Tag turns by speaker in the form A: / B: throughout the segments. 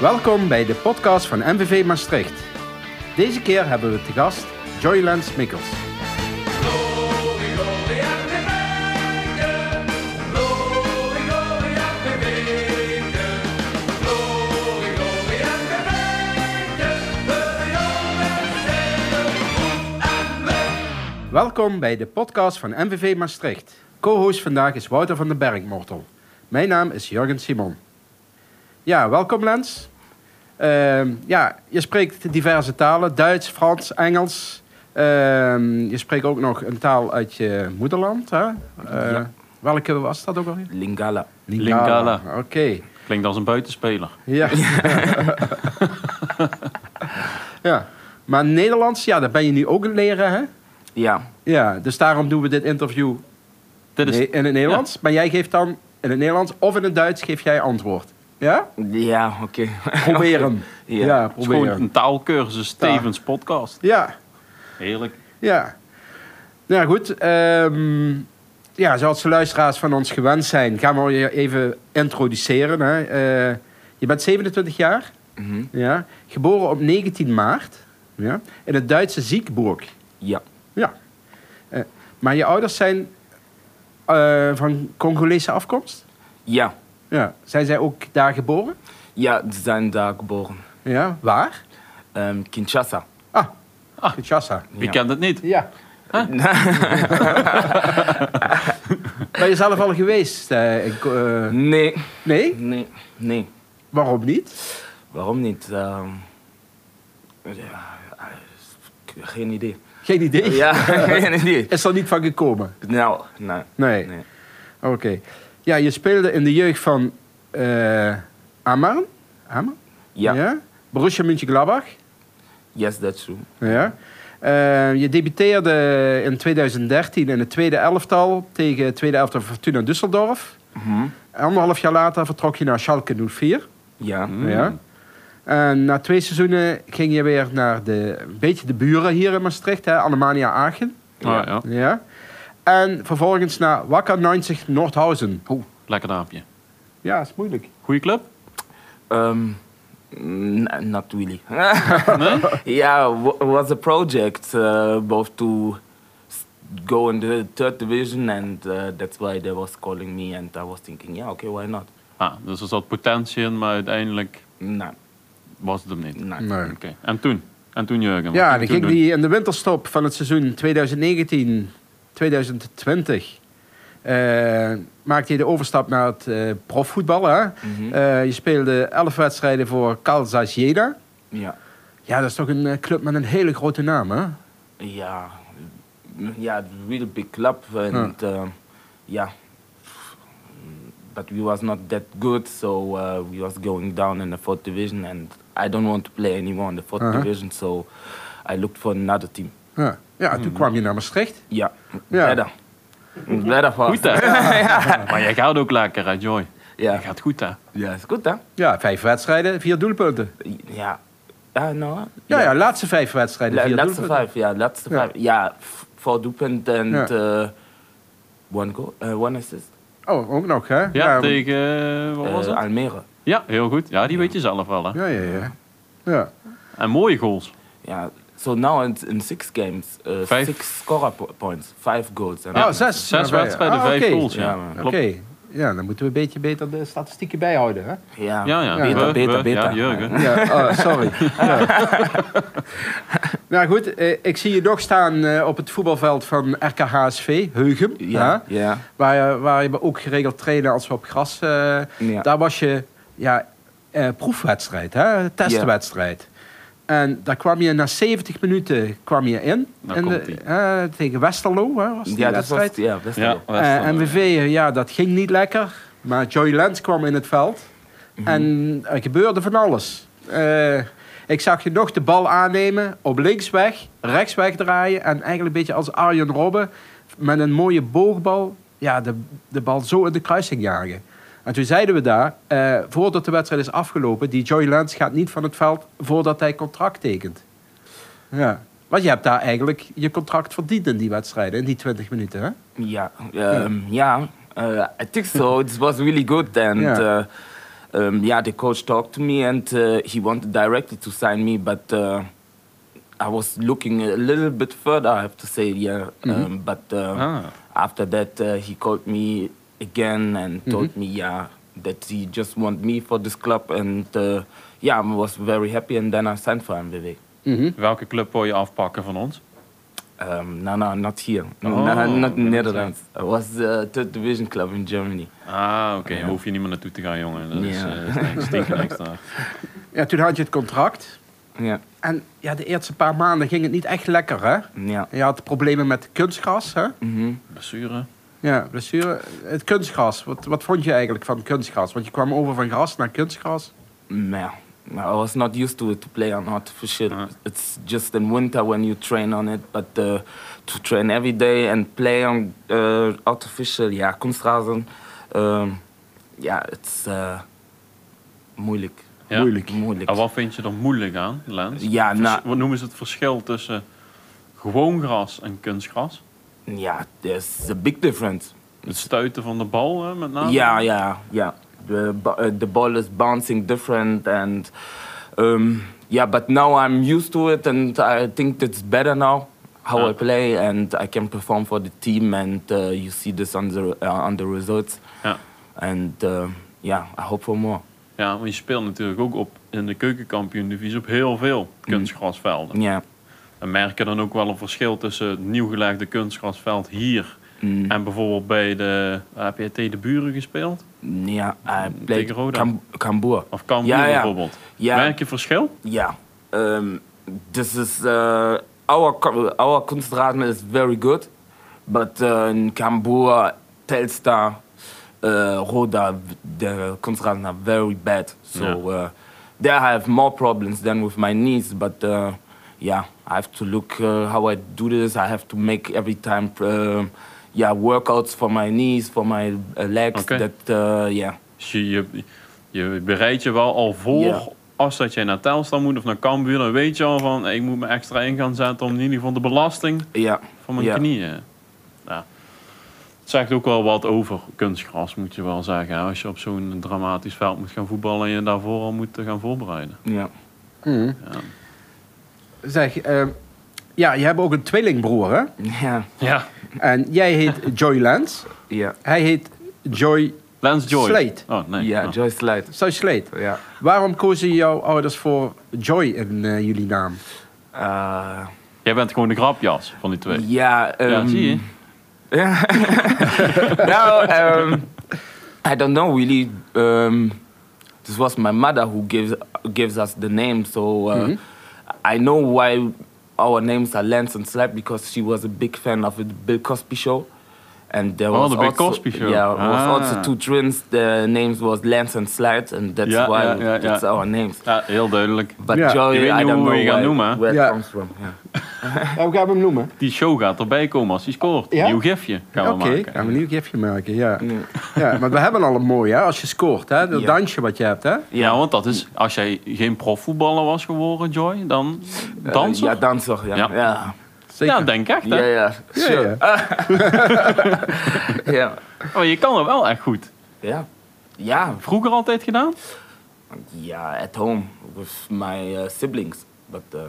A: Welkom bij de podcast van MVV Maastricht. Deze keer hebben we te gast Joyland Smikkels. Welkom bij de podcast van MVV Maastricht. Co-host vandaag is Wouter van den Bergmortel. Mijn naam is Jurgen Simon. Ja, welkom Lens. Ehm, ja, je spreekt diverse talen. Duits, Frans, Engels. Ehm, je spreekt ook nog een taal uit je moederland. Hè? Eh, Welke was dat ook alweer?
B: Lingala.
C: Lingala.
A: Oké.
C: Klinkt als een buitenspeler.
A: Ja. ja. Maar Nederlands, ja, dat ben je nu ook aan het leren, hè?
B: Ja,
A: Ja, dus daarom doen we dit interview
C: Dit is,
A: ne- in het Nederlands. Maar jij geeft dan in het Nederlands of in het Duits geef jij antwoord. Ja?
B: ja oké.
A: Proberen.
B: Ja.
A: ja,
C: het is gewoon
A: proberen.
C: een taalkursus Stevens podcast.
A: Ja.
C: Heerlijk.
A: Ja. Nou ja, goed. ehm, ja, zoals de luisteraars van ons gewend zijn, gaan we je even introduceren. Hè. Eh, je bent 27 jaar,
B: Mhm.
A: ja. geboren op 19 maart ja. in het Duitse Ziekburg.
B: Ja,
A: Ja. Eh, maar je ouders zijn eh, van Congolese afkomst?
B: ja,
A: Ja. Zijn zij ook daar geboren?
B: ja, ze zijn daar geboren.
A: Ja. Waar?
B: Ehm, Kinshasa.
A: Ah,
C: Ah.
A: Kinshasa.
C: Wie kent het niet?
A: Ja. Ben je zelf al geweest? eh, in Co- eh,
B: Nee,
A: nee?
B: nee, nee.
A: Waarom niet?
B: Waarom niet? Ehm, ja, eh, geen idee.
A: Geen idee.
B: Ja, geen idee.
A: Is er niet van gekomen?
B: Nou, nee.
A: Nee.
B: nee.
A: Oké. Ja, je speelde in de jeugd van eh Amman. Amman?
B: Ja,
A: Borussia Mönchengladbach.
B: yes, that's true.
A: Ja. Eh, je debuteerde in 2013 in het tweede elftal tegen het tweede elftal Fortuna Düsseldorf.
B: Mhm.
A: Anderhalf jaar later vertrok je naar Schalke 04.
B: Ja,
C: Mhm. Mm.
A: Ja. En na twee seizoenen ging je weer naar de, een beetje de buren hier in Maastricht, hè, Alemania Aachen.
C: Ja.
B: Ja.
C: Ah, ja.
A: Ja. En vervolgens naar Wakker 90 Noordhausen.
C: Lekker naapje.
A: Ja, is moeilijk.
C: Goeie club?
B: Ehm, n- not really. yeah, w- was a project uh, both to s- go in the third division, and uh, that's why they was calling me, and I was thinking, yeah, okay, why not?
C: Ah, dus er zat potentie in, maar uiteindelijk
B: No,
C: was het hem niet.
B: no.
A: Nee.
C: Oké. En toen? En toen Jurgen?
A: Ja,
C: Wat
A: dan
C: ging je
A: ging
C: toen doen?
A: die in de winterstop van het seizoen 2019, 2020. eh, maakte je de overstap naar het eh, profvoetbal. Hè?
B: Mhm.
A: Eh, je speelde 11 wedstrijden voor Calzas Jena.
B: Yeah,
A: Ja, dat is toch een eh, club met een hele grote naam, hè?
B: yeah, yeah. Really big club, and um, yeah. But we was not that good, so uh, we was going down in the fourth division, and I don't want to play anymore in the 4th
A: Uh-huh.
B: division, so I looked for another team.
A: Ja, ja toen kwam je naar Maastricht.
B: Ja,
A: Ja.
B: verder. Verder vast.
C: Goed hè? Maar jij gaat ook lekker hè, Joy?
B: Ja.
C: Jij gaat goed hè?
B: ja, is goed hè?
A: Ja, vijf wedstrijden, vier doelpunten.
B: Ja. Ja, nou.
A: Ja, ja, laatste vijf wedstrijden,
B: La-
A: vier
B: laatste
A: doelpunten.
B: vijf, ja, laatste
A: Ja.
B: vijf. Ja, v- voor doelpunt en
A: Ja.
B: eh, one goal, eh, one assist.
A: Oh, ook nog, hè?
C: Ja, tegen... eh, Wat was
B: Eh,
C: het?
B: Almere.
C: Ja, heel goed. Ja, die weet je zelf wel hè.
A: Ja, ja, ja. Ja,
C: En mooie goals.
B: Ja, so now in, in six games, eh,
C: Vijf.
B: six scorer po- points, five goals. en-
A: Ah, Oh, zes.
C: Zes
A: Ja,
C: wedstrijden,
A: ah,
C: vijf
A: oké.
C: goals. Ja,
B: Ja, man.
A: oké.
C: klopt.
A: Ja, dan moeten we een beetje beter de statistieken bijhouden, hè?
B: Ja,
C: Ja, ja.
B: beter,
C: We-
B: beter,
C: we-
B: beter.
C: Ja, Jurgen.
A: Ja, oh, sorry. Ja. Nou goed, eh, ik zie je nog staan eh, op het voetbalveld van RKHSV, Heugem.
B: Ja,
A: Ja.
B: ja.
A: Waar, je- waar je ook geregeld trainen als we op gras. eh,
B: Ja.
A: Daar was je ja, eh, proefwedstrijd, hè? testwedstrijd. En daar kwam je na 70 minuten kwam je in.
C: Nou
A: En de-
C: komt-ie.
A: eh, tegen Westerlo hè, was die
B: Ja, dat was,
A: wedstrijd.
B: ja, best
C: Ja,
B: wel.
A: Eh, MVV, ja, dat ging niet lekker. Maar Joy Lens kwam in het veld. En er gebeurde van alles. Eh, ik zag je nog de bal aannemen, op links weg, rechts wegdraaien. En eigenlijk een beetje als Arjen Robben met een mooie boogbal ja, de, de bal zo in de kruising jagen. En toen zeiden we daar, eh, voordat de wedstrijd is afgelopen... die Joy Lens gaat niet van het veld voordat hij contract tekent. Ja. Want je hebt daar eigenlijk je contract verdiend in die wedstrijden, in die 20 minuten. Hè?
B: Yeah, um, yeah. Uh, I think so. it was really good, and
A: Yeah.
B: uh, um, yeah, the coach talked to me and uh, he wanted directly to sign me, but uh, I was looking a little bit further, I have to say, yeah. Um, but uh,
C: Ah.
B: after that, uh, he called me again and told me, yeah, that he just want me for this club. And uh, yeah, I was very happy. And then I signed for MBW.
C: Welke club wil je afpakken van ons?
B: Um, no, no, not here.
C: Oh,
B: no, not in
C: okay.
B: Netherlands. I was uh, third division club in Germany.
C: Ah, oké.
B: Ja.
C: Daar hoef je niet meer naartoe te gaan, jongen. Dat is
B: Ja.
C: eh, stink- stinken extra.
A: Ja, toen had je het contract.
B: Yeah,
A: En ja, de eerste paar maanden ging het niet echt lekker, hè?
B: yeah.
A: Je had problemen met kunstgras, hè?
B: Mhm.
C: Blessure.
A: Ja, blessure. Het kunstgras, wat, wat vond je eigenlijk van kunstgras? Want je kwam over van gras naar kunstgras.
B: No, no, I was not used to it to play on artificial.
C: Uh-huh.
B: It's just in winter when you train on it, but uh, to train every day and play on uh, artificial, yeah, Kunstrasen, um, yeah, it's uh, moeilijk.
C: Ja.
A: Moeilijk.
B: Moeilijk.
C: En wat vind je er moeilijk aan, Lens?
B: Ja,
C: Vers-
B: nou-
C: Wat noemen ze het verschil tussen gewoon gras en kunstgras?
B: Yeah, there's a big difference.
C: Het stuiten van de bal, hè, met name?
B: Yeah, yeah, yeah. The, bu- uh, the ball is bouncing different, and um, yeah, but now I'm used to it, and I think it's better now how I
C: Ah.
B: play, and I can perform for the team, and uh, you see this on the uh, on the results,
C: Ja.
B: and uh, yeah, I hope for more.
C: Ja, want je speelt natuurlijk ook op, in de keukenkampioen-divisie op heel veel
B: Hm.
C: kunstgrasvelden.
B: Yeah,
C: En merk je dan ook wel een verschil tussen het nieuwgelegde kunstgrasveld hier
B: Mm.
C: en bijvoorbeeld bij de APT de Buren gespeeld?
B: yeah, I played
C: Tegen Roda.
B: Cam- Cambuur.
C: Of Cambuur
B: Ja, ja.
C: bijvoorbeeld?
B: Ja.
C: Merk je verschil?
B: Yeah, um, this is uh, our co- our Kunstrasen is very good, but uh, in Cambuur, Telstar, uh, Roda, the Kunstrasen are very bad. So
C: Yeah.
B: uh, there I have more problems than with my knees, but. Uh, yeah, I have to look uh, how I do this. I have to make every time, um yeah, workouts for my knees, for my uh, legs.
C: Okay.
B: That uh, yeah,
C: Dus je, je, je bereidt je wel al voor
B: Ja.
C: als dat jij naar Telstar moet of naar Cambuur, dan weet je al van hey, ik moet me extra in gaan zetten om in ieder geval de belasting
B: yeah,
C: van mijn
B: yeah.
C: knieën. Ja. Het zegt ook wel wat over kunstgras, moet je wel zeggen. hè. Als je op zo'n dramatisch veld moet gaan voetballen en je daarvoor al moet eh, gaan voorbereiden.
B: Yeah,
C: Ja.
A: Zeg, eh, ja, je hebt ook een tweelingbroer, hè?
B: yeah,
C: Ja,
A: En jij heet Joy Lance.
B: yeah,
A: Hij heet Joy,
C: Lens Joy.
A: Slate.
C: Oh, nee.
B: yeah.
C: Oh.
B: Joy Slide.
A: Zou Sleet.
B: Yeah.
A: Waarom kozen jouw ouders voor Joy in eh, jullie naam?
B: Uh,
C: Jij bent gewoon de grapjas van die twee.
B: yeah. Um,
C: ja, zie je?
B: Yeah. no, um, I don't know really. Um, this was my mother who gives gives us the name, so uh,
C: Mm-hmm.
B: I know why our names are Lance and Slap because she was a big fan of the Bill Cosby Show, and there
C: Oh,
B: was
C: the Bill
B: also,
C: Cosby Show.
B: Yeah, there was
C: Ah.
B: also two twins. Their names was Lance and Slide, and that's
C: Yeah,
B: why
C: yeah, yeah,
B: that's
C: yeah.
B: our names.
C: Ja, heel duidelijk.
B: But
A: Yeah.
B: Joey,
C: You
B: I
C: know
B: don't
C: who
B: know
C: you gonna
B: why-
C: name, huh?
B: where
A: Yeah.
B: it comes from. Yeah.
A: Ja, we gaan hem noemen.
C: Die show gaat erbij komen als hij scoort.
A: Ja?
C: Nieuw gifje gaan
A: Oké,
C: we maken.
A: gaan we een nieuw gifje maken, ja. ja. Maar we hebben al een mooi, hè, als je scoort, hè. Dat
B: Ja.
A: dansje wat je hebt, hè.
C: Ja, want dat is, als jij geen profvoetballer was geworden, Joy, dan
B: Uh,
C: danser?
B: yeah, dancer.
C: Yeah.
B: yeah. yeah.
A: Eh, Zeker.
C: Ja, denk echt. Hè?
B: Yeah, yeah,
A: Ja,
B: sure.
A: ja.
C: Eh.
B: Yeah,
C: Maar Oh, je kan het wel echt goed.
B: yeah, yeah,
C: Vroeger altijd gedaan?
B: yeah. At home with my uh, siblings, but uh,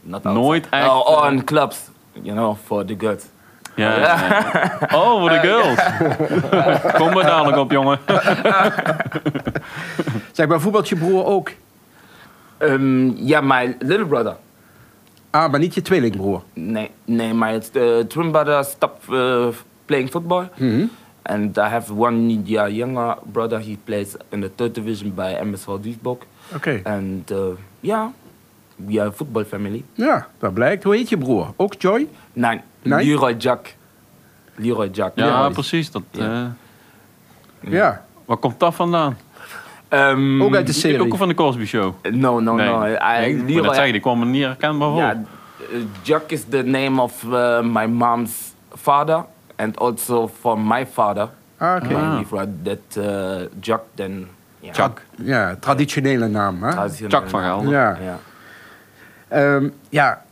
B: not outside.
C: Nooit echt,
B: Oh,
C: eh,
B: on clubs, you know, for the girls.
C: Ja. Oh,
A: Eh,
C: voor de girls. Kom maar dadelijk op, jongen.
A: Zeg, maar voetbalt je broer ook?
B: Um, yeah, my little brother.
A: Ah, maar niet je tweelingbroer.
B: Nee, nee, my uh, twin brother stopped uh, playing football, and I have one yeah, younger brother. He plays in the third division by MSV Duisburg,
A: Oké.
C: Eh.
B: and uh, yeah, we are a football family.
A: Ja, dat blijkt. Hoe heet je broer? Ook Joy?
B: Nein,
A: Nein?
B: Leroy Jack. Leroy Jack.
C: Ja,
B: Leroy.
C: precies. Dat,
B: Ja.
C: eh,
A: Ja.
C: waar komt dat vandaan?
B: Ehm,
A: Ook uit de serie.
C: Mm,
A: Oh, nou, eh,
C: Ook van de Cosby Show.
B: No, no, no. Uh, I,
C: nee, ik moet dat zeggen, die kwam er niet herkenbaar voor.
B: yeah, uh, Jack is the name of uh, my mom's father and also from my father.
A: Ah, oké.
B: My
C: Ah.
B: lief- that uh, Jack then. Yeah.
C: Chuck.
A: Ja, traditionele naam, hè.
B: Traditionele
C: Chuck van Gaal.
B: naam.
A: Ja.
B: Ja.
A: Ehm, ja,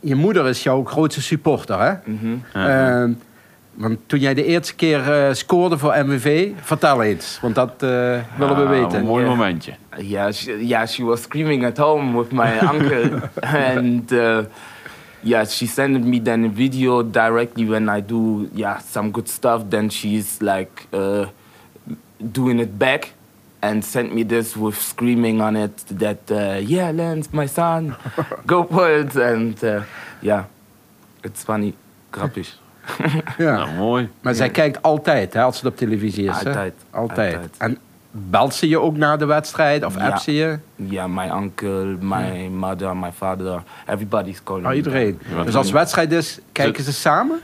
A: je moeder is jouw grootste supporter, hè?
B: Mhm.
A: Ehm, Want toen jij de eerste keer eh, scoorde voor MVV, vertel eens. Want dat eh, willen we
C: Ah, Een
A: weten.
C: mooi
B: Ja.
C: momentje.
B: Yeah, she, yeah, she was screaming at home with my uncle, and uh, yeah, she sent me then a video directly when I do yeah some good stuff. Then she's like uh, doing it back, and sent me this with screaming on it that uh, yeah, Lance, my son, go for it, and uh, yeah, it's funny, grappig.
A: Ja.
C: Nou, mooi.
A: Maar zij kijkt altijd, hè, als het op televisie is. hè?
B: Altijd,
A: altijd.
B: altijd.
A: En belt ze je ook na de wedstrijd of
B: Ja.
A: appt ze je?
B: Yeah, my uncle, my mother, my father, everybody's calling.
A: Oh, Hmm.
B: me.
A: iedereen.
C: Ja.
A: Dus als wedstrijd is, kijken ze samen?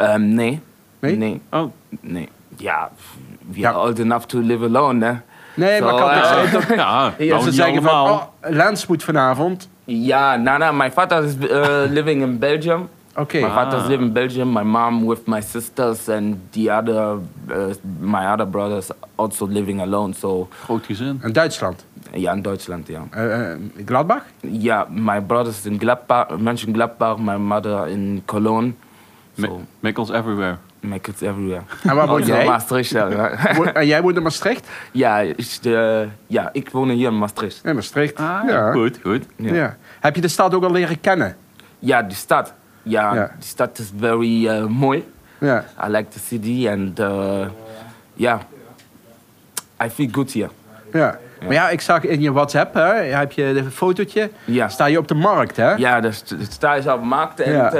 B: Um, nee.
A: Nee?
B: Nee.
C: Oh,
B: Nee. Ja, pff, we
A: Ja.
B: are old enough to live alone, ne? hè?
A: Nee, maar
B: Zo,
A: kan toch
B: eh,
A: zijn dat
C: ja,
A: dat
C: nou,
A: ze
C: niet
A: zeggen van,
C: allemaal.
A: oh, Lens moet vanavond.
B: Ja, Nana, my father is uh, living in Belgium.
A: Oké.
B: My father's
C: Ah.
B: living in Belgium. My mom with my sisters and the other, uh, my other brothers also living alone. So,
C: Groot gezin.
A: En Duitsland.
B: ja, in Duitsland, ja.
A: Eh, eh, Gladbach?
B: Ja, my brothers in Gladbach, Mönchengladbach, my mother in Cologne.
C: Mi-
B: So,
C: Mikkels everywhere.
B: my kids everywhere.
A: En waar woon
B: Also
A: jij?
B: Maastricht, Oh, ja. ja.
A: Wo- En jij woont in Maastricht?
B: ja, ik, eh, ja, ik woon hier in Maastricht.
A: In Maastricht.
C: Ah,
A: ja.
C: goed, goed.
A: Ja. Heb je de stad ook al leren kennen?
B: Ja, die stad. Ja,
A: Ja.
B: die stad is very eh, mooi.
A: Ja.
B: I like the city and uh, yeah, I feel good here.
A: ja. Maar ja, ik zag in je WhatsApp, hè, heb je een fotootje.
B: Ja.
A: Sta je op de markt, hè?
B: Ja, dus het staat is op de markt en
A: Ja.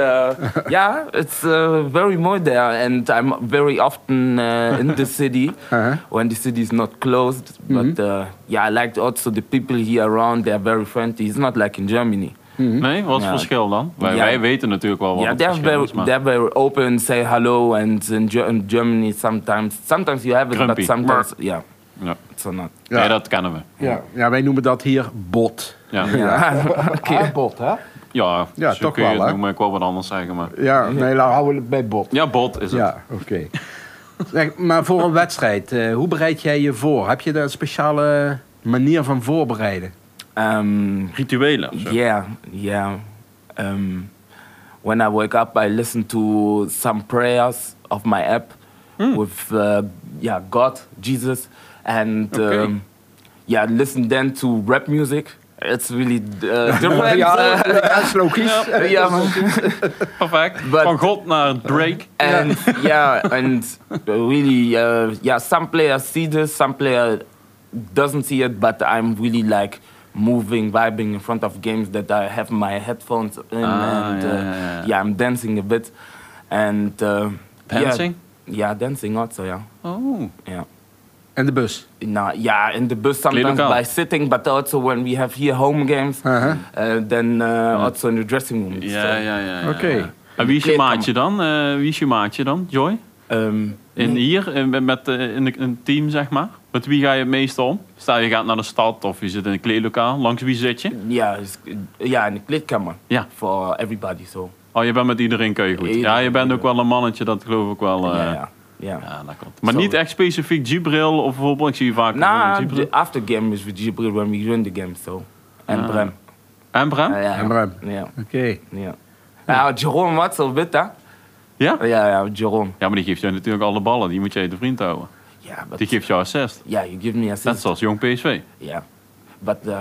B: ja, yeah, it's uh, very mooi there and I'm very often uh, in the city
A: Uh-huh.
B: when the city is not closed. But uh, yeah, I liked also the people here around. They're very friendly. It's not like in Germany.
A: Mhm.
C: Nee, wat is
B: Ja.
C: het verschil dan? Wij,
B: Ja.
C: wij weten natuurlijk wel wat
B: Yeah,
C: het
B: they're
C: verschil
B: very,
C: is, maar
B: they're very open, say hello, and in, Ger- in Germany sometimes, sometimes you have it,
C: Grumpy.
B: but sometimes, yeah,
C: ja.
B: it's not.
A: Ja.
C: Nee, dat kennen we.
A: Ja. Ja, wij noemen dat hier bot.
C: Ja, ja,
B: Yeah. okay.
A: bot, hè? Ja,
C: zo
A: toch
C: kun
A: wel,
C: je het
A: hè?
C: noemen. Ik wil wat anders zeggen, maar...
A: Ja, nee, laten houden we het bij bot.
C: Ja, bot is het.
A: Ja, oké. Zeg, maar voor een wedstrijd, eh, hoe bereid jij je voor? Heb je daar een speciale manier van voorbereiden?
B: Um,
C: Rituelen of zo.
B: yeah, yeah. Um, when I wake up, I listen to some prayers of my app with uh, yeah God, Jesus, and
C: Okay.
B: um, yeah, listen then to rap music. It's really uh, different.
A: ja, dat is logisch.
B: Uh, yeah, man.
C: Perfect.
B: But-
C: Van God naar Drake.
B: and yeah, and really, uh, yeah, some players see this, some player doesn't see it, but I'm really like moving, vibing in front of games that I have my headphones in,
C: Ah,
B: and
C: yeah,
B: uh,
C: yeah, yeah.
B: I'm dancing a bit, and uh, yeah.
C: Dancing?
B: yeah, dancing also, yeah,
C: Oh.
B: yeah.
A: En de bus.
B: Nah, yeah, in the bus sometimes
C: Clear the
B: by
C: count.
B: sitting, but also when we have here home games,
A: Uh-huh.
B: uh, then uh,
C: Mm.
B: also in the dressing room. so,
C: Ja, ja, ja. ja,
A: Oké.
C: ja. En wie is je
B: Kleedkamer.
C: maatje dan? Eh, wie is je maatje dan, Joy?
B: Um,
C: In hier, in, met- met, eh, in een team zeg maar. Met wie ga je het meest om? Stel je gaat naar de stad of je zit in een kleedlokaal. Langs wie zit je?
B: yeah, it's, yeah, in the kleedkamer
C: Ja.
B: for everybody, so.
C: Oh, je bent met iedereen kun je goed.
B: Iedereen.
C: Ja, je bent ook wel een mannetje, dat geloof ik wel. eh.
B: Ja, ja, ja.
C: Ja, dat klopt. Maar
B: Zo. Nou,
C: niet echt specifiek Gibril of bijvoorbeeld, ik zie je vaak
B: Nah,
C: bijvoorbeeld Gibril.
B: the after game is with Jibril when we win the game, so. And
C: Ah.
B: Brem.
C: En Bram?
B: Ah, ja,
A: En Brem.
B: Ja,
A: Oké.
B: ja. Ja, Jerome wat zo wit, hè?
C: Ja?
B: Ja, ja, Jerome.
C: Ja, maar die geeft jou natuurlijk alle ballen. Die moet jij te vriend houden.
B: Ja, but...
C: Die geeft jou assist.
B: Ja, you give me
C: Net
B: assist.
C: zoals jong PSV.
B: Yeah. But uh,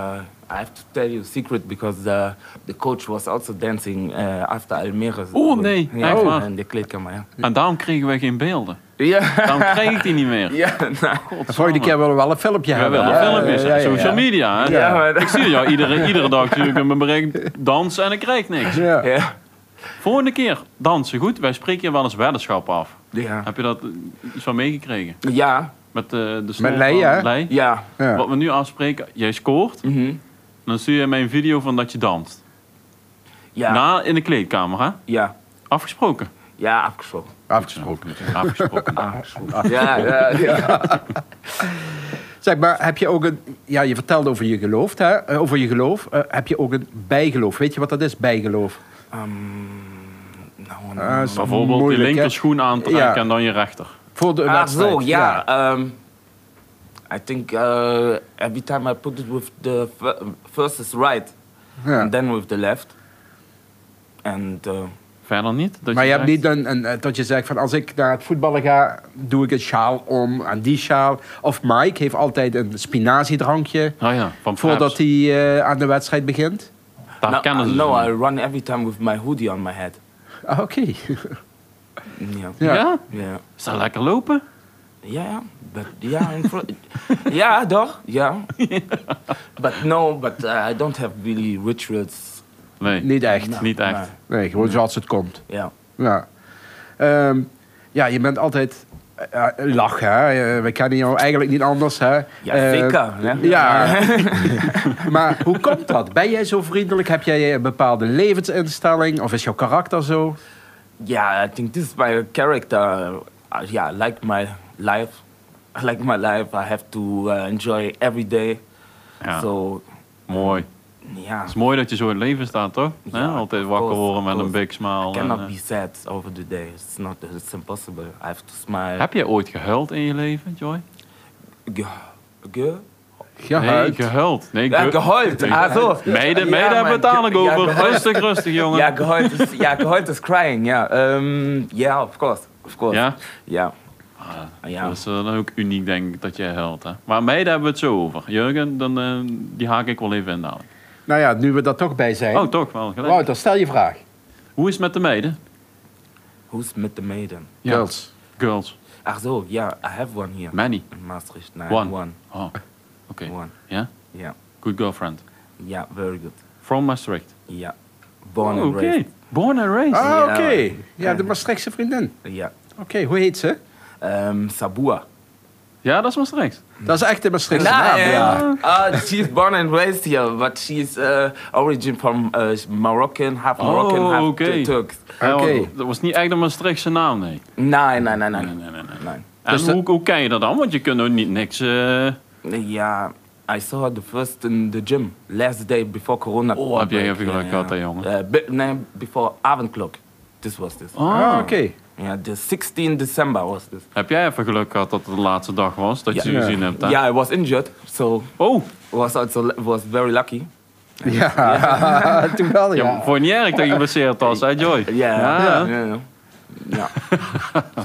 B: I have to tell you a secret because uh, the coach was also dancing uh, after Almere.
C: Oh, nee.
B: Ja,
C: Echt waar?
B: in de kleedkamer, ja.
C: En daarom kregen wij geen beelden.
B: Ja,
C: Daarom kreeg ik die niet meer.
B: ja, nou.
A: De volgende keer willen we wel een filmpje
C: Wij
A: hebben.
C: willen
A: hè?
C: filmpjes,
A: Ja, ja, ja.
C: social media. Hè?
B: Ja, maar-
C: Ik zie jou iedere, iedere dag natuurlijk in mijn bericht dansen en ik krijg niks.
A: Ja.
B: Ja.
C: Volgende keer dansen goed. Wij spreken hier wel eens weddenschap af.
B: Ja.
C: Heb je dat eh, iets van meegekregen?
B: Ja,
C: Met eh, de snor
A: Met Lei,
C: van
A: hè?
C: Lei?
B: ja.
A: Ja.
C: Wat we nu afspreken, jij scoort.
B: Mhm.
C: Dan stuur je mij een video van dat je danst.
B: Ja,
C: Na in de kleedkamer, hè?
B: ja.
C: Afgesproken.
B: Ja, afgesproken.
A: Afgesproken.
C: Afgesproken.
B: Ja, ja, ja.
A: Zeg maar, heb je ook een... Ja, je vertelde over je geloof, hè? eh, Over je geloof. Eh, heb je ook een bijgeloof? Weet je wat dat is, bijgeloof?
B: Um, nou, nou,
A: Ah,
B: nou.
A: is
C: Bijvoorbeeld
A: moeilijk,
C: je
A: hè?
C: linkerschoen aantrekken
A: Ja.
C: en dan je rechter.
A: Voor de
B: Ah,
A: wedstrijd.
B: so yeah. Um, I think uh, every time I put it with the fir- first is right,
A: Ja.
B: and then with the left, and uh,
C: Verder niet. Dat
A: maar je hebt
C: zegt-
A: niet een, een, eh, dat je zegt van als ik naar het voetballen ga, doe ik een sjaal om aan die sjaal. Of Mike heeft altijd een spinaziedrankje
C: Ah ja, van
A: voordat hij eh, aan de wedstrijd begint.
C: Daar
B: no,
C: kennen ze
B: no,
C: ze
B: Nou, I
C: niet.
B: run every time with my hoodie on my head.
A: Ah, Oké.
B: Yeah.
A: Ja.
C: ja.
B: Yeah.
C: Is dat lekker lopen?
B: Yeah, but yeah, in fro- yeah, doch, yeah. but no, but uh, I don't have really rituals.
C: Nee,
A: Niet echt.
B: No,
C: Niet echt.
B: no,
A: Nee, gewoon zoals het komt.
B: yeah,
A: Ja, Ehm, ja je bent altijd eh, eh, lachen. Hè? Eh, we kennen jou eigenlijk niet anders. Hè?
B: ja,
A: Eh,
B: zeker. hè?
A: Ja, maar hoe komt dat? Ben jij zo vriendelijk? Heb jij een bepaalde levensinstelling? Of is jouw karakter zo?
B: yeah, I think this is my character. Uh, yeah, I like my life. I like my life. I have to uh, enjoy every day.
C: Ja,
B: So,
C: mooi.
B: yeah,
C: Het is mooi dat je zo in het leven staat, toch?
B: Ja,
C: Hè? Altijd
B: of
C: wakker
B: course,
C: worden
B: of
C: met een
B: course.
C: big smile. en,
B: cannot
C: eh,
B: be sad over the day. It's not. It's impossible. I have to smile.
C: Heb jij ooit gehuild in je leven, Joy?
B: Ge, ge,
A: Gehuid.
C: Nee, gehuild. Nee,
B: ja,
C: ge-
B: gehuild. Ah, zo.
C: Meiden,
B: Ja,
C: meiden
B: maar
C: hebben het daar
B: ge-
C: nog
B: ja,
C: over.
B: gehuild-
C: rustig, rustig, jongen.
B: Ja, gehuild is, ja, gehuild is crying, ja. Ehm, ja, of course. Of course.
C: Ja?
B: Ja.
C: Ah,
B: Ja.
C: Dat is eh, dan ook uniek, denk ik, dat jij huilt. Hè? Maar meiden hebben we het zo over. Jurgen, dan, eh, die haak ik wel even in dadelijk.
A: Nou ja, nu we daar toch bij zijn.
C: Oh, toch wel. Gelijk.
A: Wouter, stel je vraag.
C: Hoe is het met de meiden?
B: Who's met the maiden?
C: Ja.
A: Girls.
C: Girls.
B: Ach zo, ja, I have one here.
C: Many.
B: In Maastricht. Nee,
C: One.
B: One.
C: Oh, oké.
B: One.
C: Ja?
B: Ja.
C: Good girlfriend.
B: Ja, very good.
C: From Maastricht.
B: Ja. Born
C: Oh,
B: and
C: oké.
B: raised.
C: Born and raised.
A: Ah, oké.
B: Ja.
A: Ja, de Maastrichtse vriendin.
B: Ja.
A: Oké, hoe heet ze?
B: Ehm, Sabua.
C: Ja, dat is Maastricht.
A: Dat is echt de Maastrichtse naam,
B: eh,
A: ja.
B: uh, she's born and raised here, but she's uh, origin from uh, Moroccan, half Moroccan,
C: Oh,
B: half
C: oké.
B: Turks.
C: Ja, want
A: Oké.
C: Dat was niet echt een Maastrichtse naam, nee.
B: Nee, nee, nee, nee.
C: Nee, nee, nee. nee.
B: nee.
C: En
A: Dus dat-
C: hoe, hoe ken je dat dan? Want je kunt ook niet niks... eh,
B: Yeah, I saw her the first in the gym last day before Corona.
C: Oh, heb jij
B: outbreak.
C: even geluk gehad, hè, jongen.
B: Eh, be- nee, before avondklok. This was this.
C: Oh.
A: Ah, oké.
B: Yeah, the 16 December was this.
C: Heb jij even geluk gehad dat het de laatste dag was? Dat je
B: Ja.
C: ze gezien hebt, hè?
B: Yeah, I was injured, so
C: Oh,
B: was also was very lucky.
A: Ja, toen wel,
C: ja.
A: ja.
C: vond je niet erg dat je geblesseerd was, hè Joy?
B: Yeah, yeah,
C: ja.
B: yeah. yeah.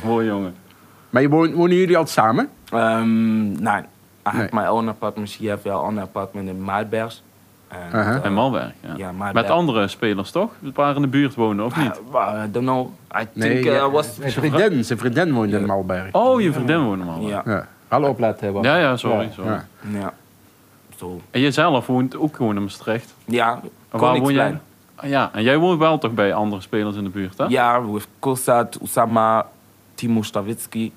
C: Mooi, jongen.
A: Maar je woont- wonen jullie al samen?
B: Um, nee, I
A: Nee.
B: had my own apartment. She have her own apartment in Maalberg. And,
A: Aha.
B: uh,
C: En Malberg, ja.
B: ja, Malberg.
C: Met andere spelers, toch? Een paar in de buurt wonen, of niet?
B: ah, I, I don't know. I think
A: ja,
B: uh, I was.
A: zijn vriendin, zijn vriendin woont in Malberg.
B: Ah,
C: Oh, je vriendin woont in Malberg.
B: Yeah,
A: Ja. Hallo opletten, Wouter.
C: Ja, ja, sorry.
A: Ja,
C: sorry.
A: ja.
B: yeah. So
C: En jezelf woont ook gewoon in Maastricht.
B: yeah,
C: En waar woon
B: Koningsplein.
C: jij? Ah, Ja, en jij woont wel toch bij andere spelers in de buurt, hè?
B: Ja, with Kosat, Usama, Timo Stavitsky.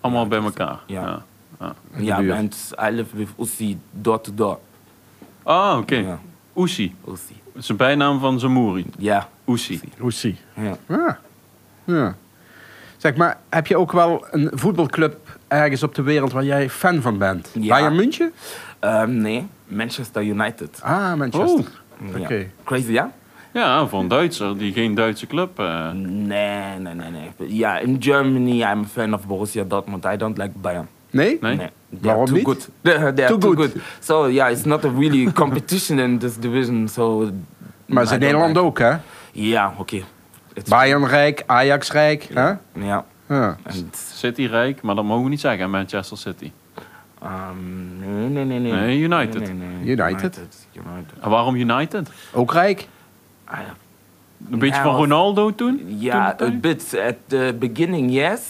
C: Allemaal
B: Ja,
C: bij
B: dat is-
C: elkaar.
B: ja.
C: ja.
A: de
B: Ja,
A: buurt.
B: and I live with Uzi door to door.
C: Ah, oké.
B: Ja.
C: Oesie.
B: Uzi.
C: Dat is de bijnaam van Zamouri.
B: Ja,
C: Oesie.
A: Oesie.
B: ja.
A: Ja. ja. Zeg maar, heb je ook wel een voetbalclub ergens op de wereld waar jij fan van bent?
B: Ja.
A: Bayern München?
B: Ehm, nee, Manchester United.
A: Ah, Manchester.
B: Ja.
A: Oké.
B: Crazy, ja?
C: Ja, voor een Duitser die geen Duitse club... eh,
B: Nee, nee, nee, nee. But Ja, in Germany, I'm a fan of Borussia Dortmund. I don't like Bayern.
A: Nee?
C: Nee?
B: They
A: Waarom
B: are too
A: niet?
B: good. They are too,
A: Eh? Too
B: too
A: good.
B: good. So, yeah, it's not a really competition in this division. So,
A: Maar ze
B: I
A: zijn
B: don't
A: Nederland
B: like-
A: ook, hè?
B: Ja, oké. Okay. It's-
A: Bayern rijk, Ajax rijk.
B: Ja.
A: Ja.
B: Ja.
A: Ja.
B: And,
C: City rijk, maar dat mogen we niet zeggen, Manchester City.
B: ehm, nee, nee, nee, nee.
C: Nee, United.
B: Nee, nee, nee.
A: United.
B: United. United.
C: En waarom United?
A: Ook rijk?
B: Ah, ja.
C: Een beetje
B: Ja,
C: van
B: of-
C: Ronaldo toen?
B: Yeah,
C: Toen
B: a
C: de tijd?
B: bit uh, at the beginning, yes,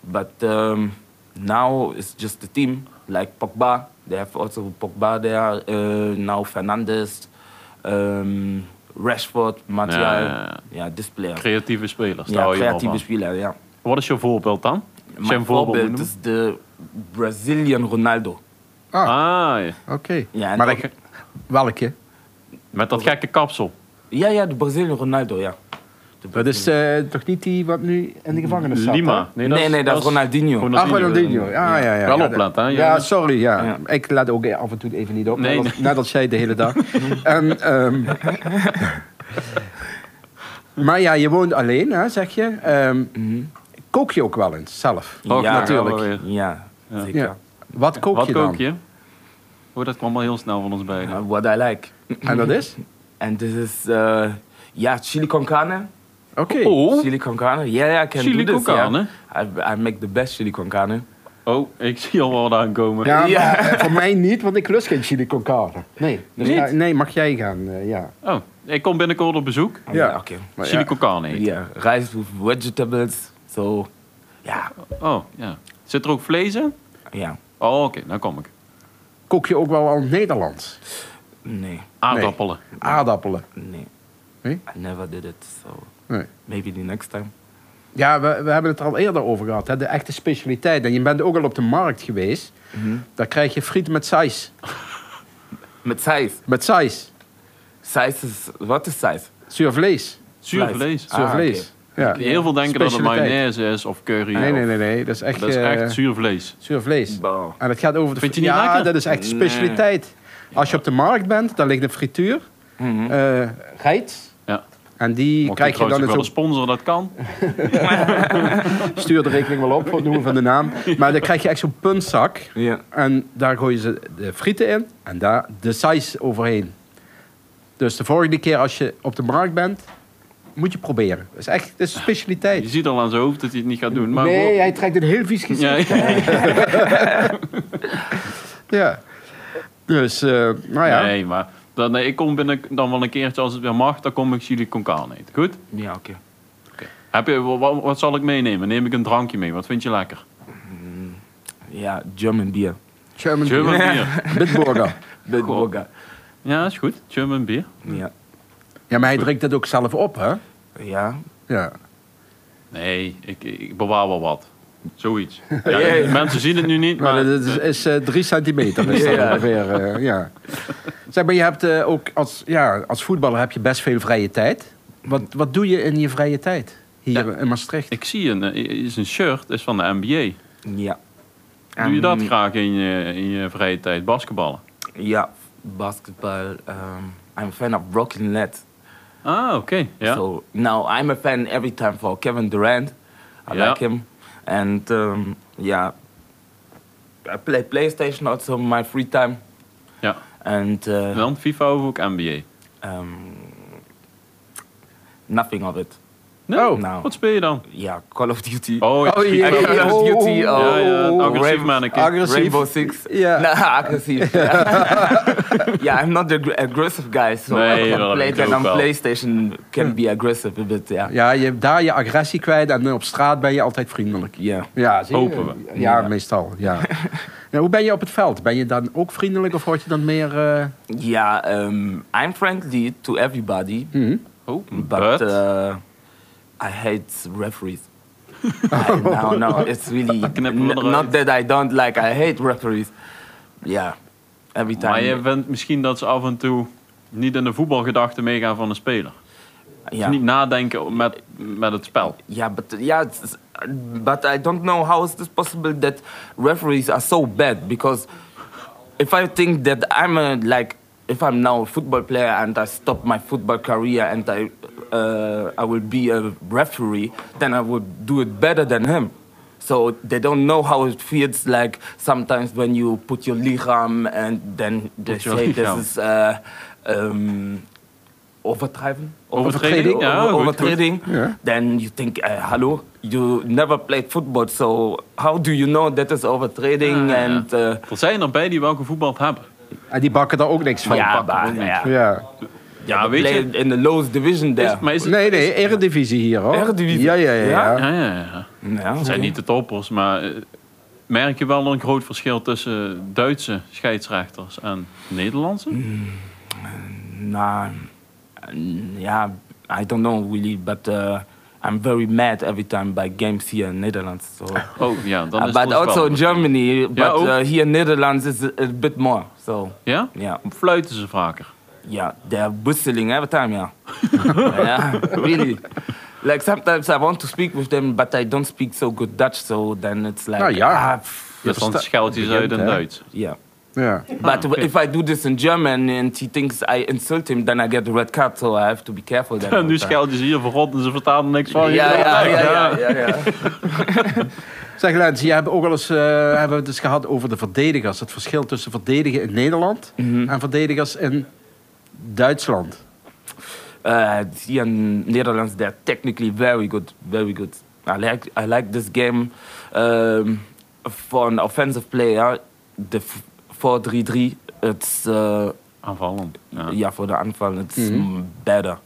B: but um, now it's just the team like Pogba. They have also Pogba there uh, now. Fernandes, um, Rashford, Martial.
C: Ja, ja, ja.
B: yeah, this player.
C: Creatieve spelers, daar
B: Ja,
C: hou je wel
B: creatieve
C: van.
B: speler. Ja.
C: Wat is je voorbeeld dan? Als je een
B: Mijn
C: voorbeeld moet
B: voorbeeld is
C: noemen?
B: de Brazilian Ronaldo.
A: Ah,
C: Ah, ja.
A: oké.
B: Ja, en
A: maar
B: ook-
A: ik- welke?
C: met dat gekke kapsel.
B: Ja, ja, de Brazilian Ronaldo, ja. De
A: Dat is eh, toch niet die wat nu in de gevangenis zat?
C: Lima.
B: Nee, nee, dat is Ronaldinho.
A: hè? Ah, Ronaldinho. Ja, ja, ja.
C: Wel
A: Ja,
C: opletten, hè,
A: Ja,
C: jongens.
A: sorry. Ja.
B: Ja.
A: Ik let ook af en toe even niet op.
C: Nee,
A: net, als, net als jij de hele dag. en, ehm, maar ja, je woont alleen, hè, zeg je. Ehm, Kook je ook wel eens zelf?
C: Ook natuurlijk.
B: Ja, ja,
C: Ja.
B: zeker.
A: Ja. Wat kook
C: Wat
A: je dan?
C: kook je? Oh, dat kwam al heel snel van ons beiden.
B: Uh, what I like.
A: En dat is?
B: En dit is, eh, ja, uh, chili con carne.
A: Okay.
C: Oh,
B: Chili con carne? Yeah, yeah, I can
C: Chili
B: do this.
C: con
B: yeah.
C: carne?
B: I, I make the best chili con carne.
C: oh, ik zie al wat aankomen.
A: Ja, maar,
B: Ja.
A: eh, voor mij niet, want ik lust geen chili con carne. Nee, dus
C: Niet?
A: ja, nee mag jij gaan, eh, ja.
C: Oh, ik kom binnenkort op bezoek.
A: Ja.
B: Okay.
A: Maar
C: Chili
A: ja,
C: con carne eten.
B: Yeah, rice with vegetables. So, yeah,
C: Oh, ja. Zit er ook vlees in?
B: yeah.
C: Oh, oké, dan kom ik.
A: kook je ook wel al Nederlands?
B: Nee,
C: Aardappelen.
A: Aardappelen.
B: nee.
A: Nee?
B: I never did it. So
A: Nee.
B: maybe the next time.
A: Ja, we, we hebben het er al eerder over gehad, hè, de echte specialiteit. En je bent ook al op de markt geweest. Daar krijg je friet met saus.
B: Met size.
A: Met saus.
B: Size is, wat is size?
A: Zuur vlees.
C: Zuur
B: Vlees.
C: vlees.
A: Zuur
B: Ah,
A: vlees. Ja.
C: Heel veel denken dat het
A: Specialiteit.
C: mayonaise is of curry.
A: Nee, nee,
C: of-
A: nee, nee. Dat is echt,
C: Dat is echt
A: eh,
C: zuur vlees.
A: zuur vlees.
B: Bah.
A: En het gaat over de
C: Vind je
A: fri-
C: niet
A: Ja,
C: lekker?
A: dat is echt specialiteit. Als je op de markt bent, dan ligt een frituur,
B: Mhm.
A: eh geit.
C: Ja.
A: En die
C: Mocht
A: krijg je dan dus
C: trouwens ook wel
A: natuurlijk
C: een sponsor dat kan.
A: Stuur de rekening wel op, voor het noemen van de naam. Maar dan krijg je echt zo'n puntzak.
B: Ja.
A: En daar gooien ze de frieten in en daar de size overheen. Dus de volgende keer als je op de markt bent, moet je proberen. Dat is echt dat is een
C: Je
A: specialiteit.
C: ziet al aan zijn hoofd dat hij het niet gaat doen. Maar
A: Nee,
C: gewoon-
A: hij trekt een heel vies gezicht.
C: ja,
A: Ja. Dus, eh, nou ja.
C: Nee, maar dan, nee, ik kom binnen dan wel een keertje als het weer mag, dan kom ik chili con carne eten. Goed?
B: Ja, oké.
C: Heb je, wa- wa- wat, zal ik meenemen? Neem ik een drankje mee? Wat vind je lekker?
B: Ja, German beer.
A: German,
C: German bier.
A: Bitburger.
B: Big
C: Goh.
B: burger.
C: Ja, is goed. German bier.
B: Ja.
A: Ja, maar hij drinkt dat ook zelf op, hè?
B: Ja.
A: Ja.
C: Nee, ik, ik bewaar wel wat. Zoiets.
B: Ja,
C: Ja,
B: ja.
C: Mensen zien het nu niet, maar...
A: Nou, dat is, is eh, drie centimeter is dat
B: Ja.
A: ongeveer. eh, ja. Zeg maar, je hebt eh, ook als, ja, als voetballer heb je best veel vrije tijd. Wat, wat doe je in je vrije tijd hier in Maastricht?
C: Ik zie een, eh, is een shirt, is van de NBA.
B: Ja.
C: Doe je dat
B: Ehm,
C: graag in je, in je vrije tijd? Basketballen?
B: Ja, basketball. Um, I'm a fan of Brooklyn Nets.
C: Ah, oké. Ja.
B: So now I'm a fan every time for Kevin Durant. I
C: Yeah.
B: like him. And um, yeah, I play PlayStation also in my free time.
C: ja.
B: And
C: En
B: uh,
C: dan FIFA of ook NBA?
B: um, nothing of it.
C: Nee?
A: Oh.
B: Nou.
C: Wat speel je dan?
B: Yeah, Call of Duty.
C: Oh, ja.
A: Oh,
C: schiet-
A: jee.
B: And Call of Duty.
A: Oh.
C: ja,
B: Oh,
C: ja,
A: Oh,
C: agressief
B: Rainbow,
C: manneke.
A: Agressief.
B: Rainbow Six.
A: Yeah.
B: Nah, aggressive. Yeah. yeah, I'm not the aggr- aggressive guy, so
C: Nee,
B: I
C: dat
B: can play
C: heb
B: it
C: ik
B: and
C: ook
B: on
C: wel.
B: PlayStation can be aggressive a bit, yeah.
A: Ja, je hebt daar je agressie kwijt en eh, op straat ben je altijd vriendelijk.
B: Yeah.
A: Ja, zie je?
C: Hopen we.
A: Ja,
B: Ja.
A: meestal. Ja. Ja, hoe ben je op het veld? Ben je dan ook vriendelijk of word je dan meer... eh,
B: Yeah, um, I'm friendly to everybody,
A: hm?
C: Oh,
B: but
C: but...
B: uh, I hate referees. I, no, no, it's really
C: Knippen we
B: n-
C: eruit.
B: not that I don't like. I hate referees. Yeah, every time.
C: maar je bent misschien dat ze af en toe niet in de voetbalgedachte meegaan van een speler.
B: yeah.
C: Dus niet nadenken met, met het spel.
B: Yeah, but uh, yeah, it's, it's- uh, but I don't know how is this possible that referees are so bad because if I think that I'm a, like if I'm now a football player and I stop my football career and I uh, I will be a referee, then I would do it better than him. So they don't know how it feels like sometimes when you put your lichaam and then they
C: Put your
B: say this
C: lichaam.
B: is uh, um, overdrijven.
C: Overtreding, ja,
B: Over-
C: goed, goed.
B: overtreding.
A: Ja.
B: Then you think, uh, hallo, you never played football, so how do you know that is overtreding?
C: Ah, ja.
B: and uh,
C: Er zijn er bij die wel gevoetbald hebben.
A: En die bakken daar ook niks van.
B: ja,
C: pakken
B: maar,
C: ook niet.
B: ja,
A: Ja.
C: Ja,
B: we
C: weet je-
B: played in the lowest division there.
C: Is, maar is het,
A: Nee, nee, eredivisie hier hoor.
B: Eredivisie?
A: Ja, ja, ja.
B: Ja?
A: ja.
C: ja, ja, ja.
B: Ja,
C: Het zijn niet de toppers, maar eh, merk je wel een groot verschil tussen Duitse scheidsrechters en Nederlandse?
B: Nah, mm, yeah, I don't know really, but uh, I'm very mad every time by games here in Netherlands. So.
C: Oh ja, dan
B: Uh,
C: is
B: but
C: het ons
B: also
C: wel.
B: in Germany, but
C: ook.
B: uh, here in Netherlands is a, a bit more. So
C: Ja?
B: yeah,
C: Fluiten ze vaker.
B: Yeah, they're whistling every time, yeah. yeah, really. Like sometimes I want to speak with them, but I don't speak so good Dutch, so then it's like,
A: Nou ja.
B: ah, pff,
C: Dus dan
A: versta-
C: scheld je ze uit in
A: begint, hè?
C: Duits.
B: yeah.
A: ja.
B: But
C: Ah, okay.
B: if I do this in German and he thinks I insult him, then I get the red card, so I have to be careful. Then all
C: En nu
B: the time.
C: scheld je ze hier voor rot en ze vertalen niks van je.
B: Yeah, yeah, yeah, yeah, yeah, yeah.
A: Zeg Lens, je hebt ook wel eens, eh, hebben we het eens gehad over de verdedigers. Het verschil tussen
B: Mhm.
A: verdedigen in Nederland en verdedigers in Duitsland.
B: Uh, here in Netherlands, they're technically very good, very good. I like I like this game um, for an offensive player. The f- 4-3-3, it's uh,
C: Aanvallend. Ja.
B: yeah. for the aanval, it's
A: Mhm.
B: mm, better.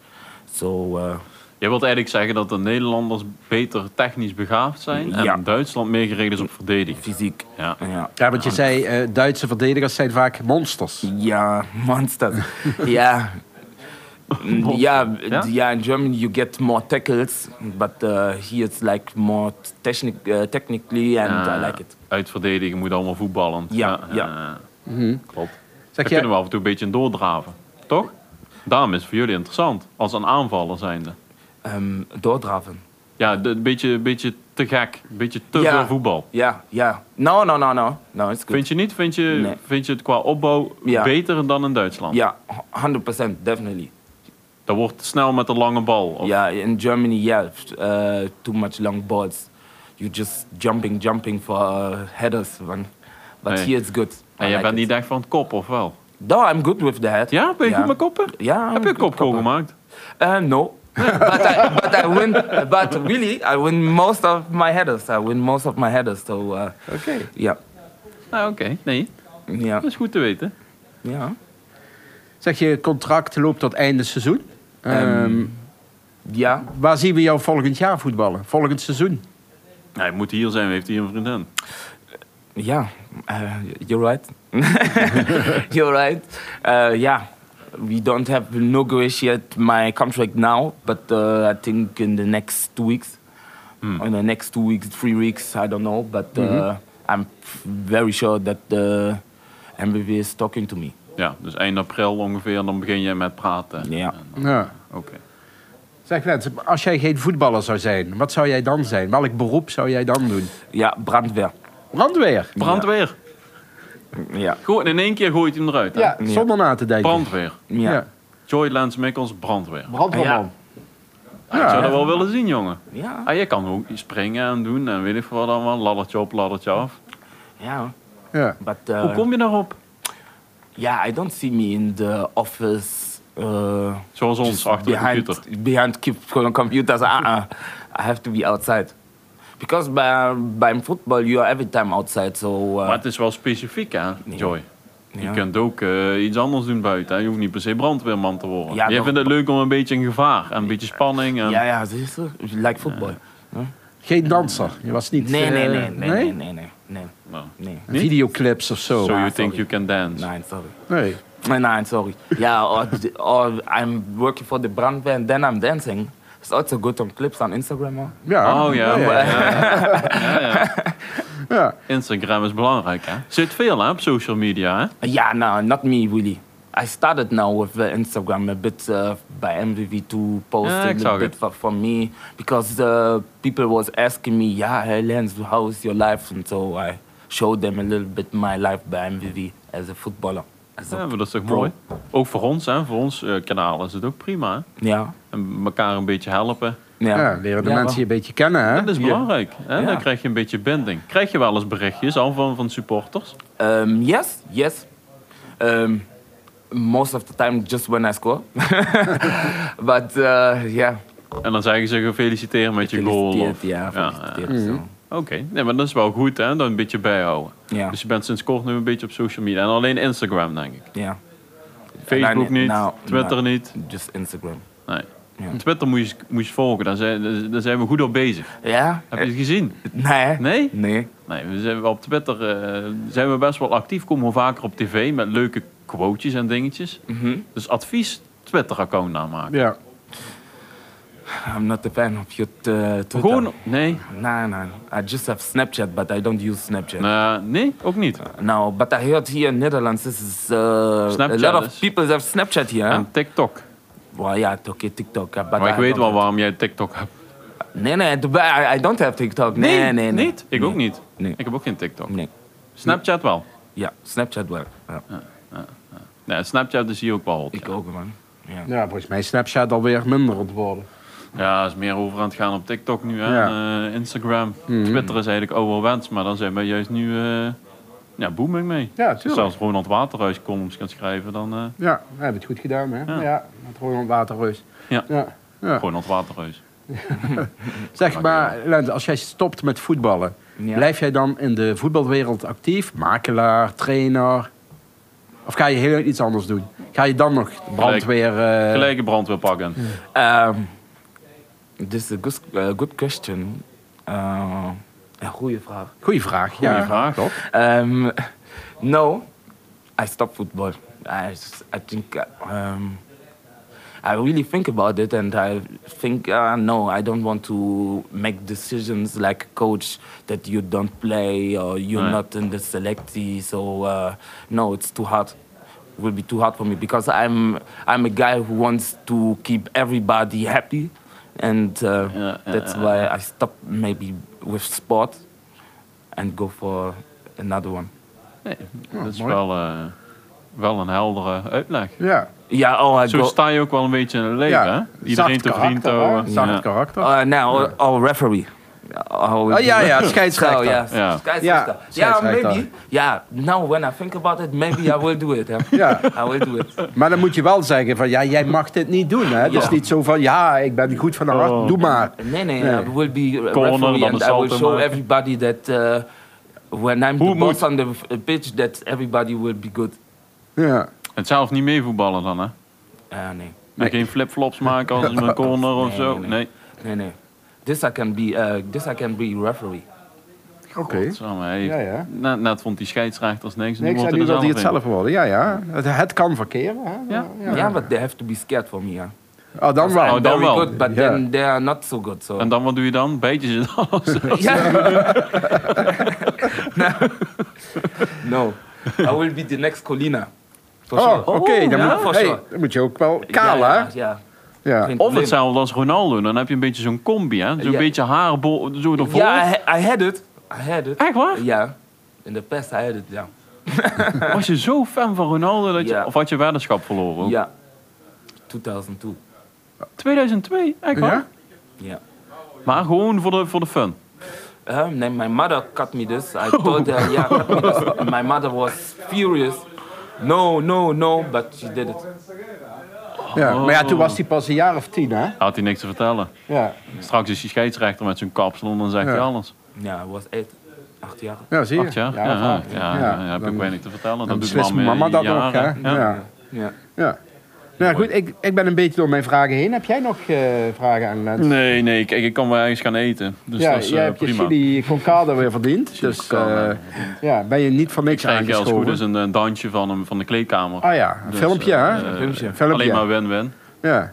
B: So uh,
C: Je wilt eigenlijk zeggen dat de Nederlanders beter technisch begaafd zijn en
B: Ja.
C: Duitsland meer geregeld is op verdediging.
B: fysiek.
C: Ja.
B: Ja.
A: Ja, want je zei, eh, Duitse verdedigers zijn vaak monsters.
B: Mhm. Ja, monster. ja. Mm, Ja,
C: Ja?
B: yeah, in Germany you get more tackles, but uh, here it's like more technic uh, technically and I
C: Eh,
B: like it.
C: Uitverdedigen moet allemaal voetballend.
B: Ja, ja.
C: eh,
A: Mhm.
C: klopt.
A: Zeg jij-
C: Dan kunnen we af en toe een beetje doordraven, toch? Daarom is het voor jullie interessant, als een aanvaller zijnde.
B: Um, doordraven.
C: Ja, de- een beetje, een beetje te gek, een beetje te
B: Ja.
C: veel voetbal.
B: Ja, ja. No, no, no, no. No, it's good.
C: Vind je niet? Vind je,
B: Nee.
C: vind je het qua opbouw
B: Ja.
C: beter dan in Duitsland?
B: Ja, 100% definitely.
C: Dat wordt snel met de lange bal. Of
B: Yeah, in Germany, yeah, uh, too much long balls. You just jumping, jumping for uh, headers, man. But
C: Hey.
B: here it's good. I
C: En jij
B: like
C: bent
B: it.
C: niet echt van het kop, of wel?
B: No, I'm good with the head.
C: Ja, ben je
B: Ja.
C: goed met koppen?
B: Ja,
C: Heb je een
B: ik ben
C: kopgoal
B: koppen.
C: gemaakt?
B: Uh, no. but, I, but I win. But really, I win most of my headers. I win most of my headers. So uh,
A: Oké.
B: yeah,
C: Nou, oké. Nee,
B: yeah,
C: dat is goed te weten.
B: yeah,
A: Zeg je, contract loopt tot einde seizoen. Ehm,
B: yeah.
A: waar zien we jou volgend jaar voetballen? Volgend seizoen?
C: Hij moet hier zijn, heeft hier een vriendin.
B: Yeah, uh, you're right. you're right. Uh, yeah, we don't have negotiate my contract now, but uh, I think in the next two weeks, in the next two weeks, three weeks, I don't know. But uh, I'm very sure that uh, the MBV is talking to me.
C: Ja, dus eind april ongeveer, dan begin jij met praten.
B: Ja.
C: En dan-
A: Ja.
C: Oké.
A: Zeg Lens, als jij geen voetballer zou zijn, wat zou jij dan zijn? Welk beroep zou jij dan doen?
B: Ja, brandweer.
A: Brandweer.
C: Brandweer.
B: Ja.
C: Gewoon in één keer gooit hij hem eruit. hè?
A: Ja, zonder na te denken.
C: Brandweer.
B: Ja.
A: Ja.
C: Joy Lance Mikkels, brandweer.
A: Brandweerman.
C: Ik zou dat
A: Ja.
C: wel willen zien, jongen.
B: Ja.
C: Ah, je kan ook springen en doen en weet ik veel wat allemaal. Laddertje op, laddertje af.
B: Ja.
A: Ja.
B: But uh,
C: Hoe kom je daarop?
B: yeah, I don't see me in the office. Uh,
C: Zoals ons,
B: just
C: achter de
B: behind,
C: computer.
B: Behind keep- computers. Uh-uh. I have to be outside. Because by, by football, you are every time outside. So uh,
C: Maar het is wel specifiek, hè, Joy? Je
B: Ja.
C: kunt ook eh, iets anders doen buiten. Hè? Je hoeft niet per se brandweerman te worden.
B: Ja,
C: Jij
B: nog-
C: vindt het leuk om een beetje in gevaar en een beetje spanning. En...
B: ja, ja, zie je? Like football.
A: Geen danser. Je was niet...
B: Nee,
A: eh,
B: nee, nee, nee, nee, nee, nee, nee,
C: Nou.
B: nee.
C: Niet?
A: Videoclips of zo.
C: So you
B: sorry.
C: think you can dance.
B: Nein, sorry.
A: Nee.
B: Nein, sorry. Yeah, or, or oh, I'm working for the brandweer and then I'm dancing. It's also good on clips on Instagram. Huh?
A: Ja.
C: Oh ja,
A: Ja,
C: maar-
A: ja.
C: ja, ja.
A: Ja.
C: Instagram is belangrijk, hè? Zit veel hè, op social media, hè?
B: Uh, Yeah, no, not me really. I started now with uh, Instagram a bit uh, by MVV2
C: Yeah,
B: posting a
C: exactly.
B: bit for, for me because uh, people was asking me, yeah, hey Lance, how is your life? And so I showed them a little bit my life by MVV as a footballer. As
C: Ja,
B: a,
C: maar dat is toch
B: Bro.
C: mooi? Ook voor ons, hè? Voor ons eh, kanaal is het ook prima, hè?
B: yeah,
C: En elkaar een beetje helpen.
B: yeah.
A: Ja, leren de
B: Yeah,
A: mensen je een beetje kennen, hè?
C: Dat is belangrijk. Hè?
B: Ja.
C: Dan krijg je een beetje binding. Krijg je wel eens berichtjes al van, van supporters?
B: well, um, yes, yes. Um, most of the time, just when I score. but uh, yeah,
C: En dan zeggen ze gefeliciteerd met je goal. Of...
B: Gefeliciteerd, yeah,
C: Ja,
B: gefeliciteerd, so.
C: Oké, nee, maar dat is wel goed, hè? Dat een beetje bijhouden.
B: Ja.
C: Dus je bent sinds kort nu een beetje op social media. En alleen Instagram, denk ik.
B: yeah.
C: Facebook
B: Alleen-
C: niet,
B: nou,
C: Twitter
B: nou.
C: niet.
B: just Instagram.
C: Nee.
B: Ja.
C: Twitter moet je, moet je volgen, daar zijn, daar zijn we goed op bezig.
B: Ja?
C: Heb je het gezien?
B: Nee.
C: Nee?
B: Nee.
C: Nee, we zijn wel op Twitter eh, zijn we best wel actief. Komen we vaker op tv met leuke quotejes en dingetjes.
B: Mhm.
C: Dus advies, Twitter-account namaken.
A: Ja.
B: I'm not a fan of your uh, Twitter.
C: Gewoon, nee.
B: Nah, nah. I just have Snapchat, but I don't use Snapchat.
C: Eh, nee, ook niet.
B: No, but I heard here in Netherlands, this is uh, a
C: Snapchat
B: lot of
C: is-
B: people have Snapchat here. huh?
C: En TikTok.
B: Well, yeah, okay, TikTok. uh, But
C: Maar ik
B: I
C: weet
B: don't
C: wel waarom jij TikTok hebt.
B: have- Nee, nee, d- but I, I don't have TikTok. Nee, nee, nee.
C: Niet? Ik ook niet.
B: Nee.
C: Ik heb ook geen TikTok.
B: Nee.
C: Snapchat wel.
B: Ja, Snapchat wel. Ja,
C: Nee, Snapchat is hier ook wel hot.
B: Ik ook, man. Ja.
A: Ja, volgens mij is Snapchat alweer minder ontworpen.
C: Ja, is meer over aan het gaan op TikTok nu, hè?
A: Ja.
B: Mhm.
C: en, eh, Instagram. Twitter is eigenlijk ouderwets, maar dan zijn we juist nu eh, Ja, booming mee.
A: Ja,
C: Als
A: tuurlijk.
C: zelfs Ronald Waterhuis columns kan schrijven, dan eh,
A: Ja, we hebben het goed gedaan, hè? Ja,
C: Ja.
A: met Ronald Waterreus.
C: Ja.
A: ja. ja.
C: Ronald Waterhuis.
A: Zeg maar, Lent, als jij stopt met voetballen,
B: Ja.
A: blijf jij dan in de voetbalwereld actief? Makelaar, trainer? Of ga je heel iets anders doen? Ga je dan nog brandweer... eh,
C: Gelijke brandweer pakken.
B: Um, this is a good, uh, good question. Uh, een goede vraag.
A: Goeie vraag,
C: Goeie
A: ja.
C: vraag.
A: Top.
B: Um, no, I stopped football. I, s- I think uh, um, I really think about it, and I think uh, no, I don't want to make decisions like a coach that you don't play or you're
C: Right.
B: not in the selectee. So uh, no, it's too hard. It will be too hard for me because I'm I'm a guy who wants to keep everybody happy, and uh,
C: Yeah, yeah,
B: that's
C: yeah,
B: why I stopped maybe with sport and go for another one.
C: Nee, dat is
A: mooi.
C: wel, eh, wel een heldere uitleg.
A: Ja,
B: Yeah, oh, I
C: Zo
B: go.
C: sta je ook wel een beetje in het leven,
A: ja.
C: hè? Iedereen
A: Zacht
C: te vriend
A: karakter, hè?
C: houden.
A: Zacht
C: Ja.
A: karakter.
B: Uh, now, oh, referee. Oh,
A: Oh, ja, ja,
B: So,
A: scheidsrechter.
B: yeah,
C: Yeah.
B: Scheidsrechter.
A: Yeah,
B: Yeah,
A: scheidsrechter.
B: maybe. Yeah, now when I think about it, maybe I will do it. Huh?
A: Ja.
B: I will do it.
A: Maar dan moet je wel zeggen van, ja, jij mag dit niet doen, hè? Het is
B: Ja.
A: niet zo van, ja, ik ben goed van de hart,
C: Oh.
A: doe maar.
B: Nee, nee,
A: Nee.
B: uh, I will be a
C: Corner,
B: referee
C: dan
B: and
C: een
B: I will
C: salto
B: show
C: maken.
B: everybody that uh, when I'm
C: Hoe
B: the boss
C: moet-
B: on the f- pitch, that everybody will be good.
A: Ja.
C: En zelf niet mee voetballen dan, hè?
B: Ah, nee.
C: En Geen flipflops maken als een corner of
B: Nee,
C: zo.
B: nee.
C: Nee.
B: Nee, nee. This I can be, uh, this I can be referee.
A: Oké.
C: Godsamme, hey.
A: Ja, ja.
C: Net, net vond die scheidsrechters niks. En
A: Niks, en
C: nu wordt
A: nu
C: hij
A: wil
C: er
A: hij het
C: zelf in.
A: zelf worden. Ja, ja. Het, het kan verkeren, hè?
C: Ja.
B: Yeah, but they have to be scared for me. Huh?
A: Oh, dan wel.
C: Oh,
B: I'm
C: dan
B: very
C: wel.
B: good, but
A: Ja.
B: then they are not so good. So.
C: En dan wat doe je dan? Bijt je ze dan? of zo?
B: Yeah. no. I will be the next Colina. For
A: Oh,
B: sure.
A: oké. dan,
B: ja,
A: moet,
B: for
A: hey,
B: sure.
A: dan moet je ook wel kaal,
B: ja,
A: hè?
B: ja, ja.
A: Ja.
B: Geen
C: Of
B: probleem.
C: hetzelfde als Ronaldo. Dan heb je een beetje zo'n combi, hè? Zo'n
B: Ja.
C: beetje haarbol, zo ervoor.
B: Ja, I, ha- I had it. I had it.
C: Echt waar?
B: Ja. In the past I had it, ja.
C: Was je zo fan van Ronaldo dat je...
B: Ja.
C: Of had je weddenschap verloren? ook?
B: Ja. 2002.
C: 2002, echt waar?
A: Ja?
B: Ja.
C: Maar gewoon voor de, voor de fun.
B: Uh, then my mother cut me this. I told her, yeah, cut me this. And my mother was furious. No, no, no, but she did it.
A: Ja.
C: Oh.
A: Maar ja, toen was hij pas een jaar of tien, hè?
C: Had hij niks te vertellen.
A: Ja.
C: Straks is die scheidsrechter met zijn kapsel en dan zegt
A: Ja.
C: hij alles.
B: Ja, I was eight, acht jaar.
A: Ja, zie je.
C: Acht jaar? Ja,
A: dat
C: ja, ja,
A: wel.
C: ja,
A: Ja,
C: ja, heb
A: dan-
C: ik weinig te vertellen.
A: Dan
C: Dat doet
A: beslist
C: mama,
A: mama dat ook, hè?
C: jaren.
A: Ja. ja.
B: Ja.
A: Nou goed, ik, ik ben een beetje door mijn vragen heen. Heb jij nog eh, vragen aan Lens?
C: Nee, nee, kijk, ik kan wel ergens gaan eten. Dus
A: ja,
C: dat is
A: jij
C: eh,
A: hebt
C: prima.
A: je chili con carne weer verdiend.
C: Chili
A: dus
C: con carne.
A: eh, ja, ben je niet voor niks
C: Krijg je als het goed is
A: aangeschoven.
C: dus een, een dansje van, hem- van de kleedkamer.
A: Ah ja, een
C: Dus,
A: filmpje,
C: eh,
A: hè?
C: eh,
B: filmpje.
A: Filmpje.
C: Alleen maar win-win.
A: Ja.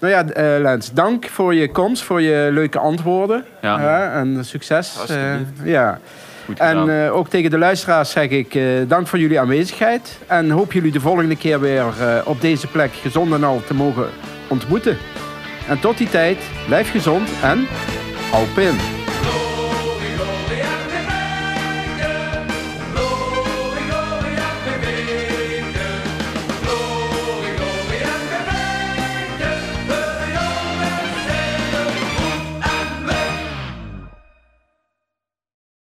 A: Nou ja, eh, Lens, dank voor je komst, voor je leuke antwoorden.
C: Ja.
A: Hè, en succes.
B: Alsjeblieft.
A: eh, ja.
C: Goed
A: En
C: gedaan.
A: eh, ook tegen de luisteraars zeg ik eh, dank voor jullie aanwezigheid. En hoop jullie de volgende keer weer eh, op deze plek gezond en al te mogen ontmoeten. En tot die tijd, blijf gezond en hou pin.